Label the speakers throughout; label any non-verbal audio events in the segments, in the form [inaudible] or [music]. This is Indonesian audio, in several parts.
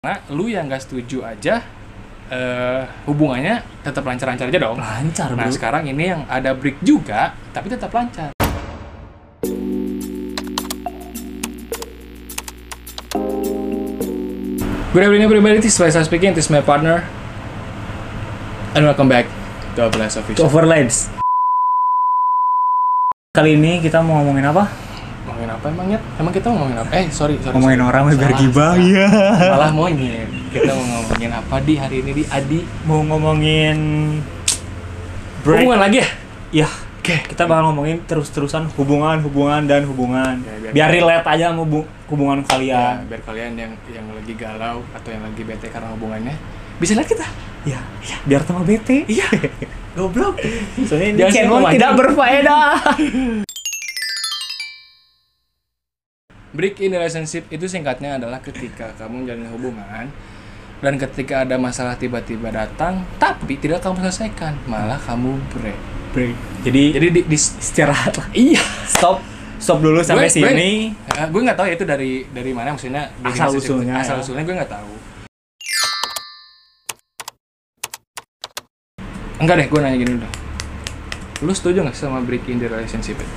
Speaker 1: karena lu yang nggak setuju aja eh, hubungannya tetap lancar-lancar aja dong.
Speaker 2: lancar
Speaker 1: Nah
Speaker 2: bro
Speaker 1: sekarang ini yang ada break juga, tapi tetap lancar. Good evening everybody, this is Faisal speaking, this is my partner And welcome back to Avalanche
Speaker 2: to
Speaker 1: Official
Speaker 2: overlaps kali ini kita mau ngomongin apa
Speaker 1: Ngomongin apa emang Nyet? Emang kita mau ngomongin apa? Eh sorry, sorry
Speaker 2: ngomongin
Speaker 1: sorry.
Speaker 2: orang biar
Speaker 1: Salah,
Speaker 2: gibah
Speaker 1: salah.
Speaker 2: iya
Speaker 1: Malah monyet Kita mau ngomongin apa di hari ini di Adi
Speaker 2: mau ngomongin break
Speaker 1: Hubungan lagi ya?
Speaker 2: ya
Speaker 1: Oke
Speaker 2: kita bakal ngomongin terus-terusan hubungan hubungan dan hubungan
Speaker 1: Ya, biar-
Speaker 2: biar relate aja sama hubu-
Speaker 1: ya
Speaker 2: hubungan kalian
Speaker 1: biar kalian yang yang lagi galau atau yang lagi bete karena hubungannya bisa lihat kita
Speaker 2: ya biar tambah bete
Speaker 1: iya
Speaker 2: [laughs]
Speaker 1: goblok
Speaker 2: soalnya ini
Speaker 1: Jangan
Speaker 2: channel
Speaker 1: semua
Speaker 2: tidak
Speaker 1: wajib.
Speaker 2: berfaedah
Speaker 1: break in relationship itu singkatnya adalah ketika kamu menjalin hubungan dan ketika ada masalah tiba-tiba datang tapi tidak kamu selesaikan malah kamu break
Speaker 2: break jadi
Speaker 1: jadi di, di
Speaker 2: istirahat lah
Speaker 1: iya
Speaker 2: stop stop dulu sampai
Speaker 1: Break, break.
Speaker 2: sini
Speaker 1: Eh, gue nggak tahu ya itu dari dari mana maksudnya di
Speaker 2: Asal
Speaker 1: relationship-
Speaker 2: usulnya ya.
Speaker 1: asal usulnya gue nggak tahu enggak deh gue nanya gini dulu lu setuju nggak sama break in the relationship it?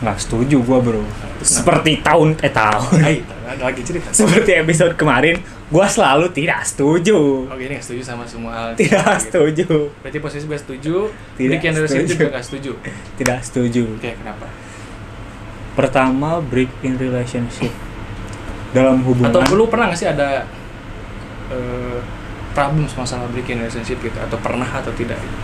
Speaker 2: nggak setuju gua bro seperti tahun eh tahun [laughs]
Speaker 1: Hai, ada lagi cerita
Speaker 2: seperti episode kemarin gua selalu tidak setuju
Speaker 1: oke ini Oh, nggak setuju sama semua hal
Speaker 2: tidak
Speaker 1: Gitu.
Speaker 2: setuju
Speaker 1: berarti posisi gue setuju
Speaker 2: Tidak
Speaker 1: break in the relationship
Speaker 2: setuju.
Speaker 1: juga nggak setuju oke
Speaker 2: tidak setuju
Speaker 1: kenapa
Speaker 2: pertama break in relationship dalam hubungan
Speaker 1: atau lu pernah nggak sih ada eh, problem masalah break in relationship gitu atau pernah atau tidak gitu?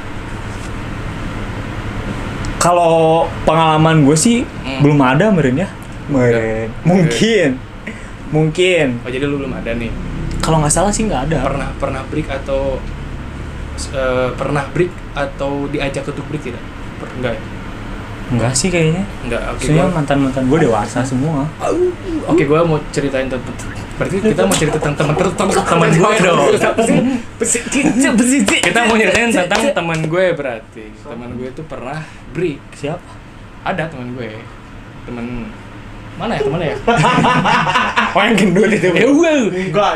Speaker 2: kalau pengalaman gue sih
Speaker 1: Hmm.
Speaker 2: belum ada meren ya meren mungkin mungkin
Speaker 1: oh jadi lu belum ada nih
Speaker 2: Nah. kalau nggak salah sih nggak ada
Speaker 1: pernah pernah break atau eh, pernah break atau diajak untuk break tidak Per- enggak ya?
Speaker 2: nggak sih kayaknya
Speaker 1: enggak oke
Speaker 2: soalnya
Speaker 1: gua-
Speaker 2: mantan mantan gue dewasa semua
Speaker 1: oke gua mau ceritain tentang berarti kita mau cerita tentang teman ter- teman teman gue dong kita mau ceritain tentang teman gue berarti teman gue itu pernah break
Speaker 2: siapa
Speaker 1: ada teman gue teman mana ya temannya ya
Speaker 2: [laughs] oh yang gendut itu
Speaker 1: ya wow.
Speaker 2: enggak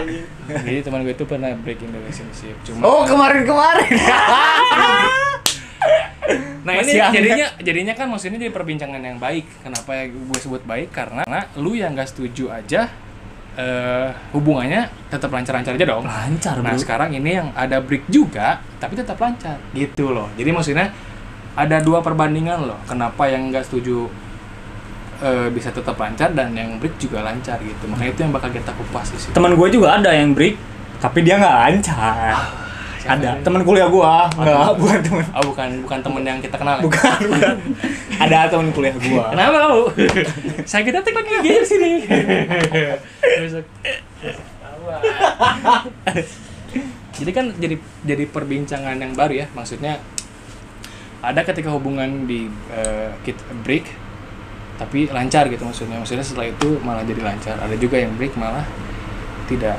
Speaker 1: jadi teman gue itu pernah break in the relationship cuma
Speaker 2: oh kemarin kemarin
Speaker 1: Nah ini
Speaker 2: Masih hangat.
Speaker 1: jadinya jadinya kan maksudnya jadi perbincangan yang baik. Kenapa ya gue sebut baik? Karena lu yang nggak setuju aja eh hubungannya tetap lancar-lancar aja dong.
Speaker 2: lancar
Speaker 1: Nah
Speaker 2: bro
Speaker 1: sekarang ini yang ada break juga, tapi tetap lancar. Gitu loh. Jadi maksudnya ada dua perbandingan loh. Kenapa yang nggak setuju eh, bisa tetap lancar dan yang break juga lancar gitu. Makanya itu yang bakal kita kupas di sini.
Speaker 2: teman gue juga ada yang break tapi dia nggak lancar
Speaker 1: Ah, Siapa
Speaker 2: ada
Speaker 1: ini?
Speaker 2: teman kuliah gua nggak
Speaker 1: teman-
Speaker 2: bukan teman
Speaker 1: Oh bukan bukan temen yang kita kenal. ya?
Speaker 2: bukan
Speaker 1: [laughs]
Speaker 2: bukan ada teman kuliah gua
Speaker 1: Kenapa kamu? [laughs] Sakit hati pakai gigi di sini. Besok. jadi kan jadi jadi perbincangan yang baru ya. Maksudnya ada ketika hubungan di eh, kit break tapi lancar gitu maksudnya. Maksudnya setelah itu malah jadi lancar. Ada juga yang break malah tidak.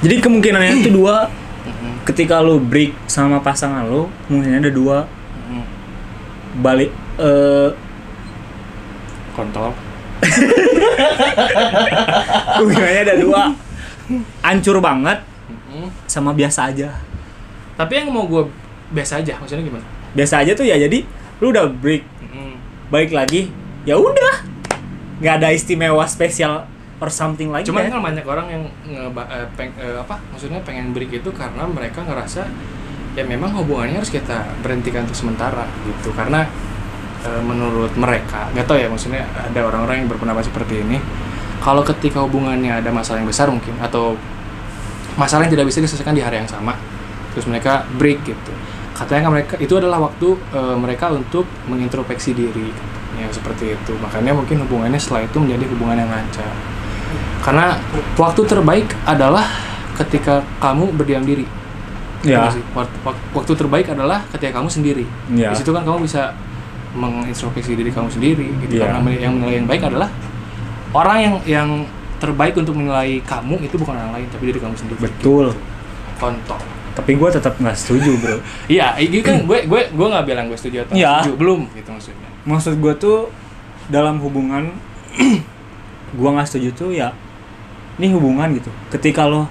Speaker 2: jadi kemungkinannya itu dua
Speaker 1: Mhm,
Speaker 2: ketika lu break sama pasangan lu mungkin ada dua
Speaker 1: mhm.
Speaker 2: balik eh
Speaker 1: Kontol.
Speaker 2: kemungkinannya ada dua hancur banget
Speaker 1: Mhm.
Speaker 2: sama biasa aja
Speaker 1: Tapi yang mau gue biasa aja maksudnya gimana?
Speaker 2: biasa aja tuh ya jadi lu udah break
Speaker 1: Mhm.
Speaker 2: balik lagi ya udah nggak ada istimewa spesial or something lagi
Speaker 1: Cuman
Speaker 2: ya.
Speaker 1: kan banyak orang yang ngeba- eh, peng- eh, apa maksudnya pengen break itu karena mereka ngerasa ya memang hubungannya harus kita berhentikan untuk sementara gitu karena eh, menurut mereka nggak tahu ya maksudnya ada orang-orang yang berpendapat seperti ini kalau ketika hubungannya ada masalah yang besar mungkin atau masalah yang tidak bisa diselesaikan di hari yang sama terus mereka break gitu katanya kan mereka itu adalah waktu eh, mereka untuk mengintrospeksi diri ya seperti itu makanya mungkin hubungannya setelah itu menjadi hubungan yang lancar karena waktu terbaik adalah ketika kamu berdiam diri
Speaker 2: ya
Speaker 1: Bener iya sih? Wak- wak- waktu terbaik adalah ketika kamu sendiri
Speaker 2: ya
Speaker 1: di situ kan kamu bisa mengintrospeksi diri kamu sendiri gitu
Speaker 2: Iya.
Speaker 1: karena men- yang menilai yang baik adalah orang yang yang terbaik untuk menilai kamu itu bukan orang lain tapi diri kamu sendiri
Speaker 2: betul
Speaker 1: kontol
Speaker 2: tapi gue tetap nggak setuju bro
Speaker 1: iya itu kan gue gue gue nggak bilang gue setuju atau nggak
Speaker 2: Iya.
Speaker 1: setuju belum gitu maksudnya
Speaker 2: maksud gue tuh dalam hubungan [clears throat] gue nggak setuju tuh ya ini hubungan gitu ketika lo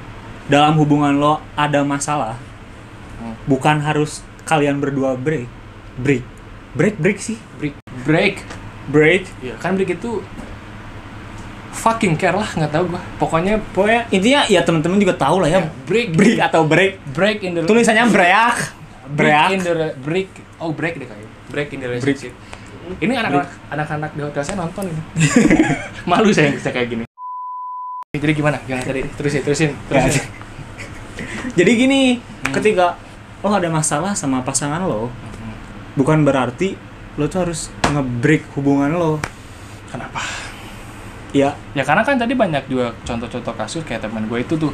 Speaker 2: dalam hubungan lo ada masalah
Speaker 1: Hmm.
Speaker 2: bukan harus kalian berdua break break break break sih
Speaker 1: break break
Speaker 2: break
Speaker 1: ya kan break itu fucking care lah nggak tahu gua pokoknya
Speaker 2: pokoknya intinya ya teman-teman juga tahu lah ya
Speaker 1: break
Speaker 2: break atau break
Speaker 1: break in the
Speaker 2: tulisannya break
Speaker 1: break in
Speaker 2: break
Speaker 1: the re- break oh break deh kayaknya break in the relationship ini anak-anak anak-anak di hotel saya nonton ini [laughs] malu saya bisa kayak gini jadi gimana gimana tadi terusin terusin terusin
Speaker 2: jadi gini
Speaker 1: Hmm.
Speaker 2: ketika lo ada masalah sama pasangan lo bukan berarti lo tuh harus ngebreak hubungan lo
Speaker 1: kenapa
Speaker 2: ya
Speaker 1: ya karena kan tadi banyak juga contoh-contoh kasus kayak teman gue itu tuh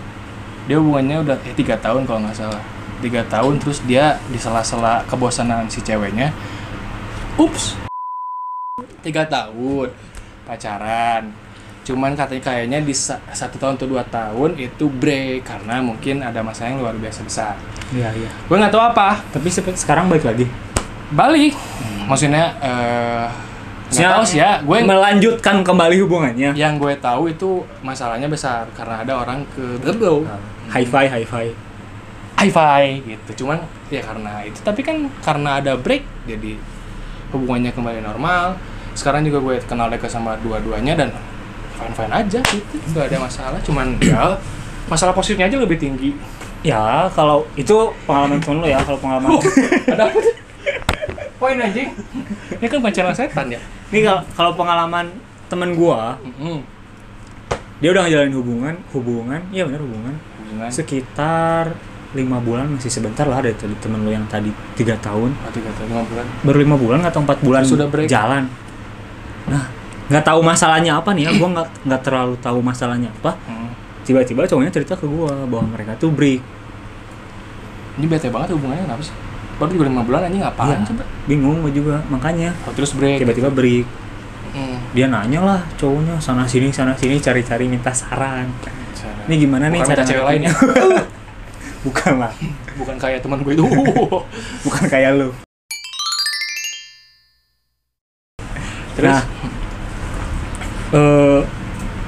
Speaker 1: dia hubungannya udah eh, tiga tahun kalau nggak salah tiga tahun terus dia di sela-sela kebosanan si ceweknya ups tiga tahun pacaran cuman katanya kayaknya di sa- satu tahun atau dua tahun itu break karena mungkin ada masalah yang luar biasa besar
Speaker 2: iya iya
Speaker 1: gue nggak tahu apa
Speaker 2: tapi sepe- sekarang balik lagi
Speaker 1: balik maksudnya eh nggak tahu sih ya gue
Speaker 2: melanjutkan kembali hubungannya
Speaker 1: yang gue tahu itu masalahnya besar karena ada orang ke Iya.
Speaker 2: Ah. high five high five
Speaker 1: hi-fi gitu cuman ya karena itu tapi kan karena ada break jadi hubungannya kembali normal sekarang juga gue kenal dekat sama dua-duanya dan fine fine aja gitu nggak ada masalah cuman [clears throat] ya masalah positifnya aja lebih tinggi
Speaker 2: ya kalau itu pengalaman temen lo ya kalau pengalaman
Speaker 1: Huh, ada apa tuh poin anjing ini kan pacaran setan ya
Speaker 2: ini kalau kalau pengalaman temen gua
Speaker 1: Mm-mm.
Speaker 2: dia udah ngejalanin hubungan hubungan iya bener hubungan
Speaker 1: hubungan
Speaker 2: sekitar lima bulan masih sebentar lah dari tadi temen lo yang tadi tiga tahun
Speaker 1: satu kata lima bulan
Speaker 2: baru lima bulan atau empat bulan
Speaker 1: Sudah break.
Speaker 2: jalan nah nggak tahu masalahnya apa nih ya gua nggak nggak terlalu tahu masalahnya apa
Speaker 1: Mm.
Speaker 2: tiba-tiba cowoknya cerita ke gua bahwa mereka tuh break
Speaker 1: ini bete banget hubungannya kenapa sih baru juga lima bulan anjing ngapain
Speaker 2: Iya.
Speaker 1: coba
Speaker 2: bingung gua juga makanya
Speaker 1: Oh, terus break
Speaker 2: tiba-tiba break
Speaker 1: Mm.
Speaker 2: dia nanya lah cowoknya sana sini sana sini cari-cari minta saran [laughs] ini gimana nih
Speaker 1: Bukan minta cewek
Speaker 2: [laughs]
Speaker 1: lain ya?
Speaker 2: ngadepinnya? bukan lah
Speaker 1: bukan kayak teman gue itu
Speaker 2: bukan kayak lu
Speaker 1: terus
Speaker 2: nah eh,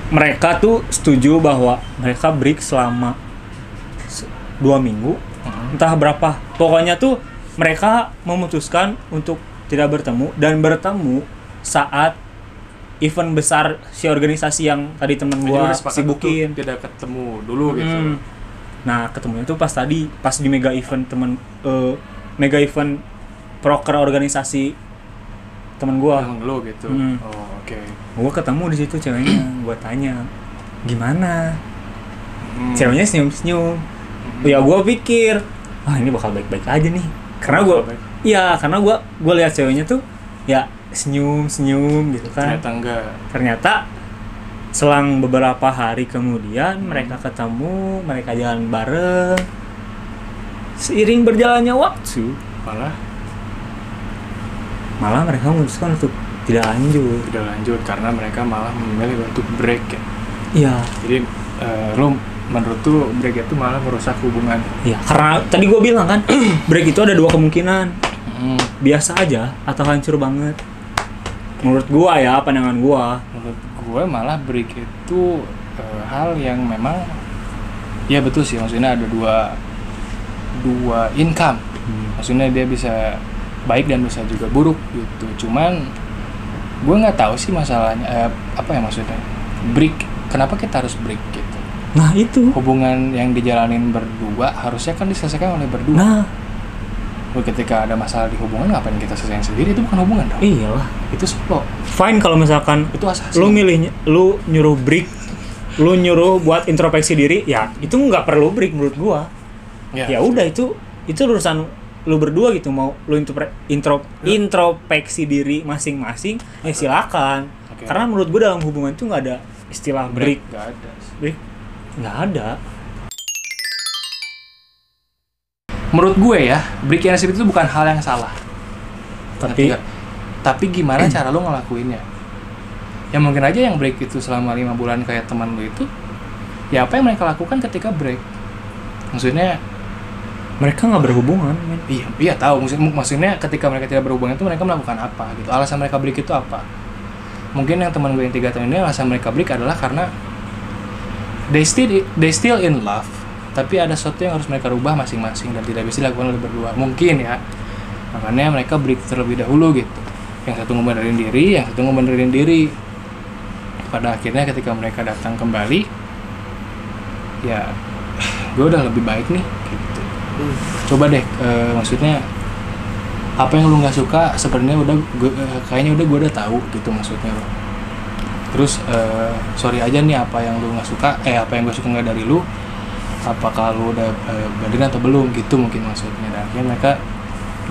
Speaker 2: mereka tuh setuju bahwa mereka break selama se- dua minggu
Speaker 1: Mm-mm.
Speaker 2: entah berapa pokoknya tuh mereka memutuskan untuk tidak bertemu dan bertemu saat event besar si organisasi yang tadi temen
Speaker 1: Jadi udah
Speaker 2: gua
Speaker 1: sepakat
Speaker 2: sibukin
Speaker 1: untuk tidak ketemu dulu gitu
Speaker 2: Hmm. Nah, ketemunya tuh pas tadi pas di mega event temen eh, mega event proker organisasi temen gua.
Speaker 1: yang lo gitu
Speaker 2: Hmm.
Speaker 1: oh oke
Speaker 2: Gua ketemu di situ ceweknya, gua tanya, "Gimana?"
Speaker 1: Hmm.
Speaker 2: Ceweknya senyum-senyum.
Speaker 1: Hmm.
Speaker 2: Ya gua pikir, "Ah, ini bakal baik-baik aja nih." Karena gua
Speaker 1: Baik.
Speaker 2: iya, karena gua gua lihat ceweknya tuh ya senyum-senyum gitu kan.
Speaker 1: ternyata enggak
Speaker 2: Ternyata selang beberapa hari kemudian mereka ketemu, mereka jalan bareng. Seiring berjalannya waktu,
Speaker 1: malah
Speaker 2: malah mereka memutuskan untuk tidak lanjut.
Speaker 1: tidak lanjut karena mereka malah memilih untuk break ya
Speaker 2: Iya,
Speaker 1: jadi eh, lo menurut tuh break itu malah merusak hubungan
Speaker 2: iya. Karena tadi gue bilang kan, [clears throat] break itu ada dua kemungkinan,
Speaker 1: Hmm.
Speaker 2: biasa aja atau hancur banget. Menurut gua ya, pandangan gua.
Speaker 1: menurut gue malah break itu eh, hal yang memang ya betul sih maksudnya ada dua dua income maksudnya dia bisa baik dan bisa juga buruk gitu cuman gue nggak tahu sih masalahnya eh, apa ya maksudnya break kenapa kita harus break gitu
Speaker 2: Nah itu,
Speaker 1: hubungan yang dijalanin berdua harusnya kan diselesaikan oleh berdua
Speaker 2: nah
Speaker 1: Lalu ketika ada masalah di hubungan ngapain kita selesaikan sendiri itu bukan hubungan dong
Speaker 2: iyalah.
Speaker 1: itu solo
Speaker 2: Fine kalau misalkan
Speaker 1: itu asasi
Speaker 2: lu milih lu nyuruh break lu nyuruh buat introspeksi diri ya itu nggak perlu break menurut gua ya udah itu itu urusan lu berdua gitu mau lu intro intro introspeksi diri masing-masing ya silakan
Speaker 1: Oke.
Speaker 2: karena menurut gua dalam hubungan tuh nggak ada istilah
Speaker 1: break
Speaker 2: break
Speaker 1: nggak ada sih.
Speaker 2: break nggak ada
Speaker 1: menurut gue ya break yang nasib itu bukan hal yang salah
Speaker 2: tapi
Speaker 1: Ngerti
Speaker 2: Iya.
Speaker 1: nggak? tapi gimana cara lo ngelakuinnya ya mungkin aja yang break itu selama lima bulan kayak teman lo itu ya apa yang mereka lakukan ketika break maksudnya
Speaker 2: mereka nggak berhubungan men
Speaker 1: iya iya tahu maksud- maksudnya ketika mereka tidak berhubungan itu mereka melakukan apa gitu alasan mereka break itu apa mungkin yang teman gue yang tiga tahun ini alasan mereka break adalah karena they still they still in love tapi ada sesuatu yang harus mereka rubah masing-masing dan tidak bisa dilakukan oleh berdua mungkin ya makanya mereka break terlebih dahulu gitu yang satu ngebenerin diri yang satu ngebenerin diri pada akhirnya ketika mereka datang kembali ya [sighs] gue udah lebih baik nih gitu coba deh eh, maksudnya apa yang lu nggak suka sebenarnya udah gua- eh, kayaknya udah gue udah tahu gitu maksudnya lo terus eh, sorry aja nih apa yang lu nggak suka eh apa yang gue suka nggak dari lu apakah lu udah eh, benerin atau belum gitu mungkin maksudnya dan akhirnya mereka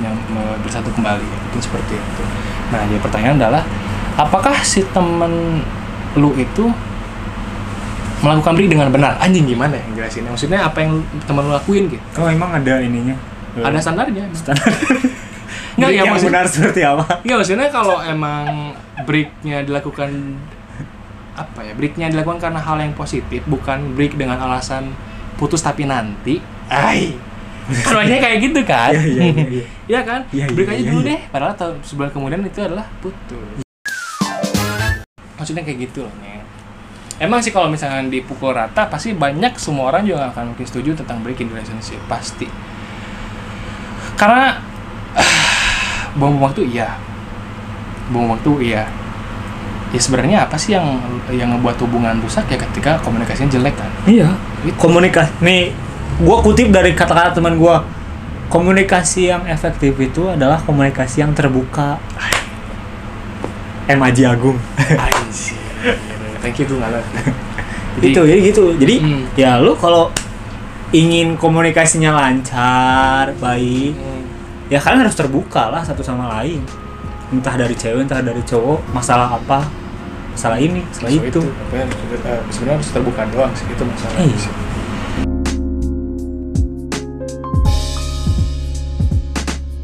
Speaker 1: yang eh, bersatu kembali mungkin seperti itu nah jadi pertanyaan adalah apakah si temen lu itu melakukan break dengan benar anjing gimana ya jelasinnya maksudnya apa yang lu- temen lu lakuin gitu
Speaker 2: Oh emang ada ininya?
Speaker 1: ada standarnya emang.
Speaker 2: Iya. standar.
Speaker 1: [laughs] Nggak, ya,
Speaker 2: yang
Speaker 1: maksud-
Speaker 2: benar seperti apa?
Speaker 1: Iya maksudnya kalau emang breaknya dilakukan apa ya breaknya dilakukan karena hal yang positif bukan break dengan alasan putus tapi nanti. Ay, kan wajahnya kayak gitu kan?
Speaker 2: Iya, iya, iya, iya.
Speaker 1: Iya kan?
Speaker 2: Iya, iya,
Speaker 1: break aja
Speaker 2: iya,
Speaker 1: dulu
Speaker 2: iya.
Speaker 1: deh. Padahal tahun sebulan kemudian itu adalah putus. Maksudnya kayak gitu loh Neng. Emang sih kalau misalnya dipukul rata pasti banyak semua orang juga akan mungkin setuju tentang break in relationship pasti. Karena [sighs] bom waktu iya bom waktu iya ya sebenarnya apa sih yang yang ngebuat hubungan rusak ya ketika komunikasinya jelek
Speaker 2: [laughs]
Speaker 1: kan
Speaker 2: Iya.
Speaker 1: Itu.
Speaker 2: Komunikasi. Nih, gua kutip dari kata-kata teman gua. Komunikasi yang efektif itu adalah komunikasi yang terbuka. M Aji Agung.
Speaker 1: Anjir. thank you gue
Speaker 2: [laughs]
Speaker 1: nggak love. Jadi,
Speaker 2: itu jadi gitu. Jadi
Speaker 1: Hmm.
Speaker 2: ya lu kalau ingin komunikasinya lancar, baik,
Speaker 1: hmm,
Speaker 2: ya kalian harus terbuka lah satu sama lain entah dari cewek entah dari cowok masalah apa masalah ini
Speaker 1: so
Speaker 2: masalah Nah, itu,
Speaker 1: ya, itu. Pokoknya, eh, sebenarnya harus terbuka doang sih itu masalah
Speaker 2: Iya.
Speaker 1: sih.